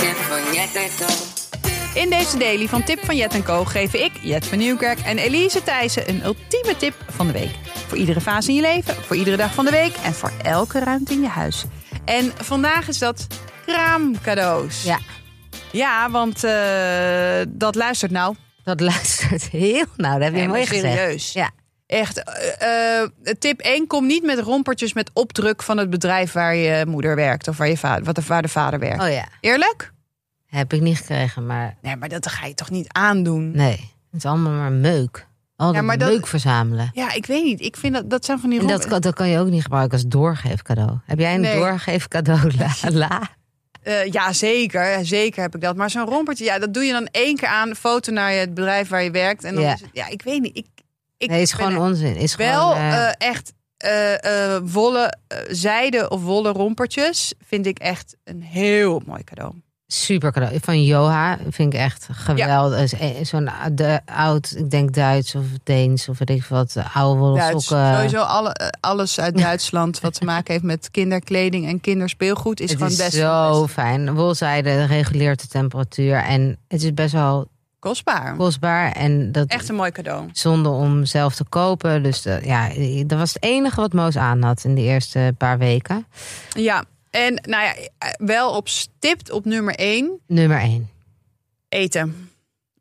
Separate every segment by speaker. Speaker 1: van Jet en Co.
Speaker 2: In deze daily van Tip van Jet Co geven ik, Jet van Nieuwkerk en Elise Thijssen een ultieme tip van de week. Voor iedere fase in je leven, voor iedere dag van de week en voor elke ruimte in je huis. En vandaag is dat raamcadeaus.
Speaker 3: Ja,
Speaker 2: Ja, want eh, dat luistert nou.
Speaker 3: dat luistert heel nou, Dat heb je
Speaker 2: Nee,
Speaker 3: mooi
Speaker 2: maar
Speaker 3: gezegd.
Speaker 2: serieus.
Speaker 3: Ja.
Speaker 2: Echt, eh, eh, tip 1, kom niet met rompertjes met opdruk van het bedrijf waar je moeder werkt of waar, je vader, wat de, waar de vader werkt.
Speaker 3: Oh ja,
Speaker 2: Eerlijk?
Speaker 3: heb ik niet gekregen, maar
Speaker 2: Nee, maar dat ga je toch niet aandoen?
Speaker 3: nee. Het is allemaal maar meuk. Al
Speaker 2: Ja,
Speaker 3: dat
Speaker 2: maar dat-
Speaker 3: meuk verzamelen.
Speaker 2: Ja, ik weet niet. Ik vind dat, dat zijn van die
Speaker 3: En
Speaker 2: rompertjes.
Speaker 3: dat, kan- dat kan je ook niet gebruiken als doorgeefcadeau. Heb jij een
Speaker 2: Nee.
Speaker 3: doorgeefcadeau? La, la.
Speaker 2: Eh, ja, zeker. Zeker heb ik dat. Maar zo'n rompertje, ja, dat doe je dan één keer aan. Foto naar je, het bedrijf waar je werkt. En dan
Speaker 3: Ja.
Speaker 2: is het- ja, ik weet niet. Ik, ik
Speaker 3: Nee, is
Speaker 2: ben
Speaker 3: gewoon
Speaker 2: er
Speaker 3: onzin. Is
Speaker 2: wel
Speaker 3: gewoon, eh,
Speaker 2: eh, echt eh, eh, wollen, eh, zijde of wollen rompertjes vind ik echt een heel mooi cadeau.
Speaker 3: Super cadeau. Van Joha vind ik echt geweldig. Is, eh, Zo'n ou- de, oud, ik denk Duits of Deens of weet ik wat, oude wollen
Speaker 2: Duits.
Speaker 3: sokken.
Speaker 2: Sowieso alle, eh, alles uit Duitsland wat te maken heeft met kinderkleding en kinderspeelgoed is
Speaker 3: het
Speaker 2: gewoon
Speaker 3: is
Speaker 2: best
Speaker 3: zo
Speaker 2: best
Speaker 3: fijn. Wolzijde reguleert de temperatuur en het is best wel
Speaker 2: kostbaar.
Speaker 3: kostbaar en dat
Speaker 2: Echt een mooi cadeau.
Speaker 3: zonde om zelf te kopen. Dus eh, ja, dat was het enige wat Moos aan had in de eerste paar weken.
Speaker 2: Ja, en nou ja, eh, wel op stipt op nummer 1
Speaker 3: Nummer één.
Speaker 2: eten.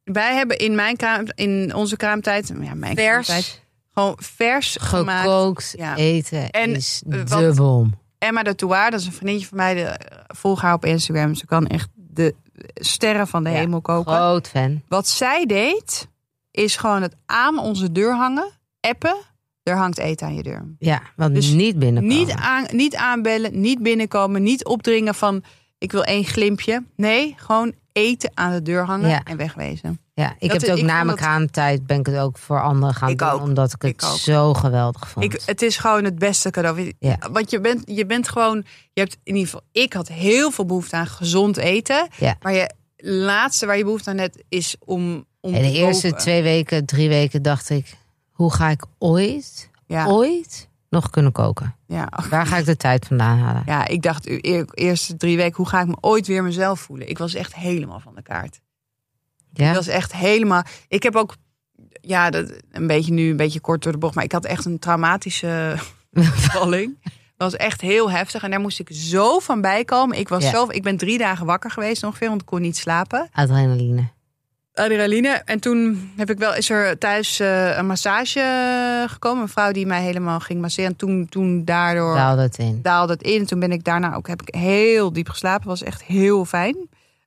Speaker 2: Wij hebben in, mijn kraam, in onze kraamtijd, ja, mijn kraamtijd,
Speaker 3: Vers,
Speaker 2: gewoon vers gemaakt.
Speaker 3: gekookt
Speaker 2: Ja.
Speaker 3: eten
Speaker 2: En,
Speaker 3: is
Speaker 2: eh, wat-
Speaker 3: de bom.
Speaker 2: Emma de Touar, dat is een vriendje van mij, de, eh, volg haar op Instagram. Ze kan echt de sterren van de
Speaker 3: Ja,
Speaker 2: hemel koken.
Speaker 3: Groot fan.
Speaker 2: Wat zij deed, is gewoon het aan onze deur hangen, appen. Er hangt eten aan je deur.
Speaker 3: Ja, want
Speaker 2: Dus
Speaker 3: niet binnenkomen.
Speaker 2: Niet, aan, niet aanbellen, niet binnenkomen, niet opdringen van ik wil één glimpje. Nee, gewoon eten aan de deur hangen
Speaker 3: Ja.
Speaker 2: en wegwezen.
Speaker 3: Ja, ik heb
Speaker 2: is-
Speaker 3: het ook
Speaker 2: ik
Speaker 3: na
Speaker 2: vond
Speaker 3: mijn
Speaker 2: dat-
Speaker 3: kraamtijd ben ik het ook voor anderen gaan
Speaker 2: Ik
Speaker 3: doen.
Speaker 2: ook.
Speaker 3: Omdat ik het
Speaker 2: Ik ook.
Speaker 3: zo geweldig vond.
Speaker 2: Ik, het is gewoon het beste cadeau.
Speaker 3: Ja.
Speaker 2: Want je bent, je bent gewoon, je hebt in ieder geval, ik had heel veel behoefte aan gezond eten.
Speaker 3: Ja.
Speaker 2: Maar je laatste waar je behoefte aan hebt is om. om
Speaker 3: en de
Speaker 2: te
Speaker 3: eerste
Speaker 2: koken.
Speaker 3: twee weken, drie weken dacht ik... Hoe ga ik ooit,
Speaker 2: Ja,
Speaker 3: ooit nog kunnen koken?
Speaker 2: ja.
Speaker 3: Waar ga ik de tijd vandaan halen?
Speaker 2: ja, ik dacht, u- eer- eerste drie weken, hoe ga ik me ooit weer mezelf voelen? Ik was echt helemaal van de kaart.
Speaker 3: Ja,
Speaker 2: Dat is echt helemaal. Ik heb ook. Ja, dat, een beetje nu, een beetje kort door de bocht. Maar ik had echt een traumatische valling. Dat was echt heel heftig. En daar moest ik zo van bijkomen. Ik, was
Speaker 3: Ja.
Speaker 2: zo, ik ben drie dagen wakker geweest ongeveer, want ik kon niet slapen.
Speaker 3: adrenaline.
Speaker 2: Adrenaline. En toen heb ik wel, is er thuis eh, een massage eh, gekomen. Een vrouw die mij helemaal ging masseren. En toen, toen daardoor
Speaker 3: Daar houdt het in.
Speaker 2: daalde het in. En toen ben ik daarna ook heb ik heel diep geslapen. was echt heel fijn.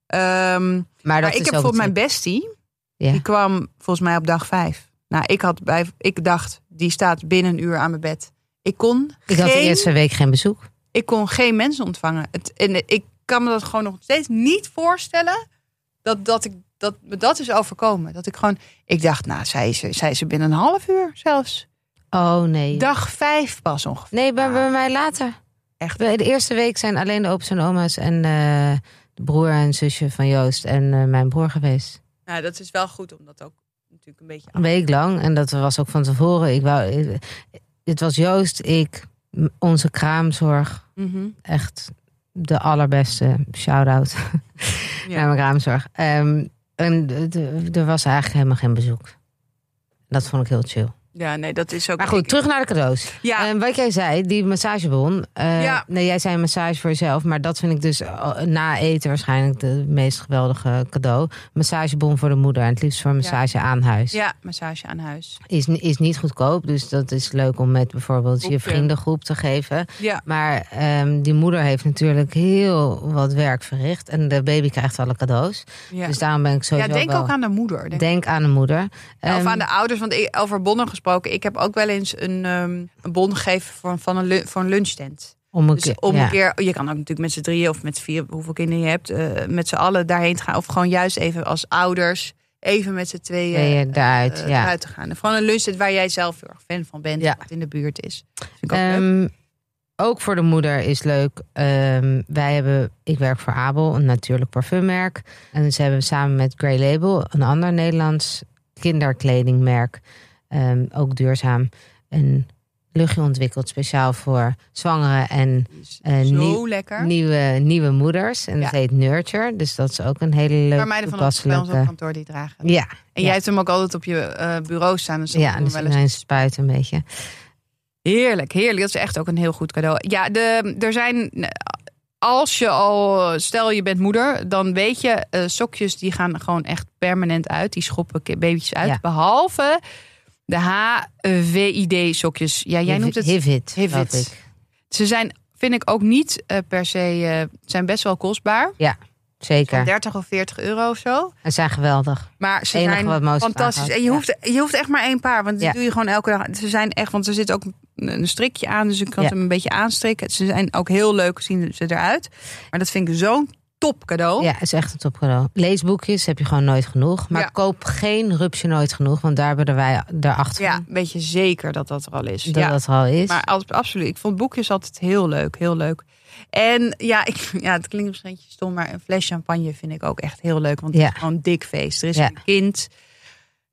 Speaker 2: Ehm,
Speaker 3: Maar, dat
Speaker 2: maar ik
Speaker 3: is
Speaker 2: heb
Speaker 3: ook
Speaker 2: bijvoorbeeld mijn
Speaker 3: het-
Speaker 2: bestie.
Speaker 3: Ja.
Speaker 2: Die kwam volgens mij op dag vijf. Nou, ik, had bij, ik dacht, die staat binnen een uur aan mijn bed. Ik kon,
Speaker 3: Ik
Speaker 2: geen,
Speaker 3: had de eerste week geen bezoek.
Speaker 2: ik kon geen mensen ontvangen. Het, en ik kan me dat gewoon nog steeds niet voorstellen. Dat, dat, ik, dat me dat is overkomen. Dat ik gewoon, ik dacht, nou, zij is, er- zij is er binnen een half uur zelfs.
Speaker 3: Oh nee.
Speaker 2: Dag vijf pas ongeveer.
Speaker 3: Nee, bij, bij mij later.
Speaker 2: Echt?
Speaker 3: Bij De eerste week zijn alleen de opa's en oma's en eh, de broer en zusje van Joost en eh, mijn broer geweest.
Speaker 2: Nou, dat is wel goed, omdat ook natuurlijk een beetje...
Speaker 3: Een week lang. En dat was ook van tevoren. Ik wou, het was Joost, ik, m- onze kraamzorg.
Speaker 2: Mhm.
Speaker 3: Echt de allerbeste shout-out
Speaker 2: Ja.
Speaker 3: naar mijn kraamzorg. Ehm, en d- d- er was eigenlijk helemaal geen bezoek. Dat vond ik heel chill.
Speaker 2: Ja, nee, dat is ook...
Speaker 3: Maar goed,
Speaker 2: ik-
Speaker 3: terug naar de cadeaus.
Speaker 2: Ja.
Speaker 3: Ehm, wat jij zei, die massagebon. eh,
Speaker 2: Ja.
Speaker 3: Nee, jij zei een massage voor jezelf. Maar dat vind ik dus eh, na eten waarschijnlijk de meest geweldige cadeau. Massagebon voor de moeder. En het liefst voor massage aan huis
Speaker 2: Ja, massage aan huis.
Speaker 3: is, is niet goedkoop. Dus dat is leuk om met bijvoorbeeld je
Speaker 2: Groepje.
Speaker 3: vriendengroep te geven.
Speaker 2: Ja,
Speaker 3: Maar ehm, die moeder heeft natuurlijk heel wat werk verricht. En de baby krijgt alle cadeaus.
Speaker 2: ja.
Speaker 3: Dus daarom ben ik
Speaker 2: ja
Speaker 3: sowieso
Speaker 2: denk
Speaker 3: wel-
Speaker 2: ook aan de moeder. Denk
Speaker 3: Denk aan de moeder.
Speaker 2: Ja,
Speaker 3: Ehm,
Speaker 2: Of aan de ouders, want ik- over bonnen gesproken. Ik heb ook wel eens een, ehm, een bon gegeven voor, van een, lu- voor een lunchtent.
Speaker 3: om een
Speaker 2: Dus
Speaker 3: keer,
Speaker 2: om
Speaker 3: ja.
Speaker 2: een keer, je kan ook natuurlijk met z'n drieën of met z'n vier, hoeveel kinderen je hebt, eh, met z'n allen daarheen te gaan. Of gewoon juist even als ouders, even met z'n tweeën
Speaker 3: Ben je daaruit,
Speaker 2: eh,
Speaker 3: ja.
Speaker 2: eruit te gaan. En vooral een lunchtent waar jij zelf heel erg fan van bent,
Speaker 3: Ja.
Speaker 2: wat in de buurt is. Vind ik ook leuk.
Speaker 3: Ehm, ook voor de moeder is leuk. Ehm, wij hebben, ik werk voor Abel, een natuurlijk parfummerk. En ze hebben samen met Grey Label, een ander Nederlands kinderkledingmerk, ehm, ook duurzaam, een luchtje ontwikkeld speciaal voor zwangeren en eh,
Speaker 2: Zo
Speaker 3: nieuw-
Speaker 2: lekker.
Speaker 3: nieuwe, nieuwe moeders. En dat
Speaker 2: Ja.
Speaker 3: heet Nurture. Dus dat is ook een hele leuke
Speaker 2: Maar meiden van ons bij ons op
Speaker 3: toepasselijke-
Speaker 2: kantoor die dragen.
Speaker 3: Ja,
Speaker 2: En
Speaker 3: ja.
Speaker 2: jij hebt hem ook altijd op je eh, bureau staan. Dus dat
Speaker 3: ja
Speaker 2: doen we
Speaker 3: dus
Speaker 2: wel
Speaker 3: in
Speaker 2: eens.
Speaker 3: een spuit een beetje.
Speaker 2: Heerlijk, heerlijk. Dat is echt ook een heel goed cadeau. Ja, de, er zijn. Als je al, stel je bent moeder, dan weet je, eh, sokjes die gaan gewoon echt permanent uit. Die schoppen ki- baby's uit.
Speaker 3: Ja.
Speaker 2: Behalve de HVID-sokjes. Ja, jij noemt het.
Speaker 3: Hivit.
Speaker 2: Hivit.
Speaker 3: geloof ik.
Speaker 2: Ze zijn, vind ik ook niet eh, per se, eh, zijn best wel kostbaar. Van
Speaker 3: Zeker.
Speaker 2: 30 of 40 euro of zo.
Speaker 3: En zijn geweldig.
Speaker 2: Maar ze
Speaker 3: Enige
Speaker 2: zijn
Speaker 3: wat Moos
Speaker 2: fantastisch.
Speaker 3: aanhoudt,
Speaker 2: En je,
Speaker 3: ja.
Speaker 2: hoeft, je hoeft echt maar één paar. Want die
Speaker 3: Ja.
Speaker 2: doe je gewoon elke dag. Ze zijn echt, want er zit ook een een strikje aan. Dus ik kan
Speaker 3: Ja.
Speaker 2: ze hem een beetje aanstrikken. Ze zijn ook heel leuk, zien ze eruit. Maar dat vind ik zo'n top cadeau.
Speaker 3: Ja, is echt een topcadeau. Leesboekjes heb je gewoon nooit genoeg. Maar
Speaker 2: Ja.
Speaker 3: koop geen rupsje nooit genoeg. Want daar hebben wij erachter
Speaker 2: Ja,
Speaker 3: van
Speaker 2: een beetje zeker dat dat er al is.
Speaker 3: dat
Speaker 2: ja.
Speaker 3: dat er al is.
Speaker 2: Maar als- absoluut. Ik vond boekjes altijd heel leuk, heel leuk. En ja, ik, ja, het klinkt misschien een beetje stom, maar een fles champagne vind ik ook echt heel leuk. Want
Speaker 3: Ja.
Speaker 2: het is gewoon een dik feest. Er is
Speaker 3: Ja.
Speaker 2: een kind.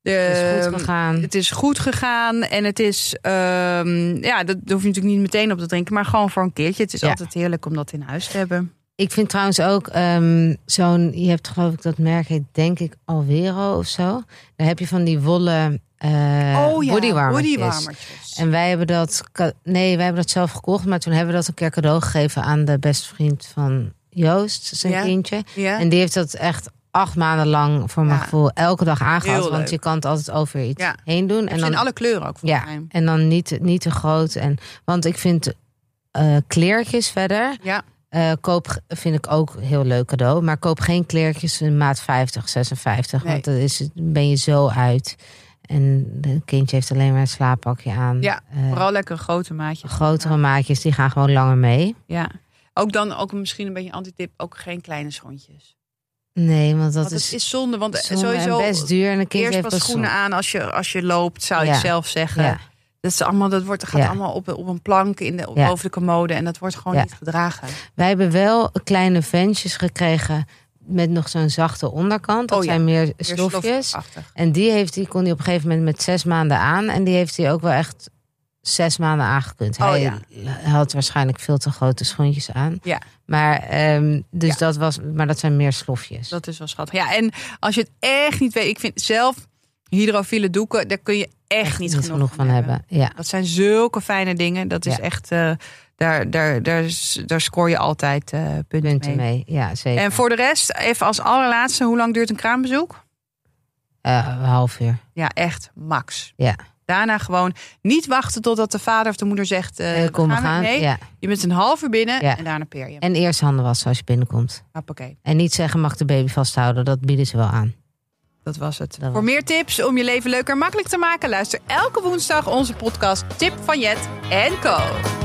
Speaker 2: Ehm, De,
Speaker 3: het is goed gegaan.
Speaker 2: het is goed gegaan en het is, ehm, ja, dat hoef je natuurlijk niet meteen op te drinken, maar gewoon voor een keertje. Het is
Speaker 3: Ja.
Speaker 2: altijd heerlijk om dat in huis te hebben.
Speaker 3: Ik vind trouwens ook ehm, zo'n, je hebt geloof ik dat merk heet, denk ik Alvero of zo. Daar heb je van die wollen eh bodywarmertjes.
Speaker 2: Oh bodywarmertjes.
Speaker 3: En wij hebben dat, ka- nee, wij hebben dat zelf gekocht, maar toen hebben we dat een keer cadeau gegeven aan de beste vriend van Joost, zijn
Speaker 2: Ja.
Speaker 3: kindje.
Speaker 2: ja.
Speaker 3: En die heeft dat echt acht maanden lang voor mijn
Speaker 2: Ja.
Speaker 3: gevoel elke dag aangehad,
Speaker 2: Heel
Speaker 3: want
Speaker 2: leuk.
Speaker 3: je kan het altijd over iets
Speaker 2: Ja.
Speaker 3: heen doen.
Speaker 2: en dan, in alle kleuren ook volgens
Speaker 3: Ja,
Speaker 2: mij.
Speaker 3: en dan niet, niet te groot. En, want ik vind eh kleertjes verder.
Speaker 2: Ja.
Speaker 3: eh, koop g- vind ik ook een heel leuk cadeau. Maar koop geen kleertjes in maat 50, 56.
Speaker 2: Nee.
Speaker 3: Want dan is, het- ben je zo uit. En het kindje heeft alleen maar een slaappakje aan.
Speaker 2: Ja,
Speaker 3: Eh,
Speaker 2: Vooral lekker grote maatjes.
Speaker 3: grotere maatjes, die gaan gewoon langer mee.
Speaker 2: Ja. Ook dan ook misschien een beetje een antitip, ook geen kleine schoentjes.
Speaker 3: Nee, want dat
Speaker 2: want het
Speaker 3: is,
Speaker 2: is, zonde, want eh,
Speaker 3: zonde en
Speaker 2: sowieso
Speaker 3: best duur. En een kind
Speaker 2: eerst
Speaker 3: heeft
Speaker 2: pas
Speaker 3: pas
Speaker 2: schoenen
Speaker 3: zo-
Speaker 2: aan als je, als je loopt, zou
Speaker 3: Ja.
Speaker 2: ik zelf zeggen.
Speaker 3: Ja.
Speaker 2: Dat, is allemaal, dat wordt, gaat
Speaker 3: Ja.
Speaker 2: allemaal op, op een plank in de,
Speaker 3: Ja.
Speaker 2: boven de commode en dat wordt gewoon
Speaker 3: Ja.
Speaker 2: niet gedragen.
Speaker 3: Wij hebben wel kleine ventjes gekregen met nog zo'n zachte onderkant. Dat
Speaker 2: Oh ja,
Speaker 3: zijn meer
Speaker 2: Weer
Speaker 3: slofjes.
Speaker 2: slofachtig.
Speaker 3: En die, heeft, die kon hij op een gegeven moment met zes maanden aan. En die heeft hij ook wel echt zes maanden aangekund.
Speaker 2: Oh,
Speaker 3: hij
Speaker 2: ja.
Speaker 3: had waarschijnlijk veel te grote schoentjes aan.
Speaker 2: Ja.
Speaker 3: Maar, ehm, dus
Speaker 2: Ja.
Speaker 3: Dat was, maar dat zijn meer slofjes.
Speaker 2: Dat is wel schattig. Ja, en als je het echt niet weet, ik vind zelf hydrofiele doeken, daar kun je echt, niet, genoeg,
Speaker 3: van hebben. Ja.
Speaker 2: Dat zijn zulke fijne dingen. Dat is
Speaker 3: Ja.
Speaker 2: echt, eh, daar, daar, daar, is- daar scoor je altijd eh, punten,
Speaker 3: Punten
Speaker 2: mee.
Speaker 3: mee. Ja, zeker.
Speaker 2: En voor de rest, even als allerlaatste, hoe lang duurt een kraambezoek?
Speaker 3: Eh, een half uur.
Speaker 2: Ja, echt max.
Speaker 3: Ja.
Speaker 2: Daarna gewoon niet wachten totdat de vader of de moeder zegt: eh,
Speaker 3: Eh, kom, we
Speaker 2: er-
Speaker 3: gaan.
Speaker 2: Nee,
Speaker 3: Ja.
Speaker 2: je bent een half uur binnen
Speaker 3: Ja.
Speaker 2: en daarna peer je.
Speaker 3: En eerst handen wassen als je binnenkomt.
Speaker 2: Hoppakee.
Speaker 3: En niet zeggen, mag ik de baby vasthouden? Dat bieden ze wel aan.
Speaker 2: Dat was het.
Speaker 3: was
Speaker 2: Voor meer tips om je leven leuker en makkelijk te maken, luister elke woensdag onze podcast Tip van Jet en Co.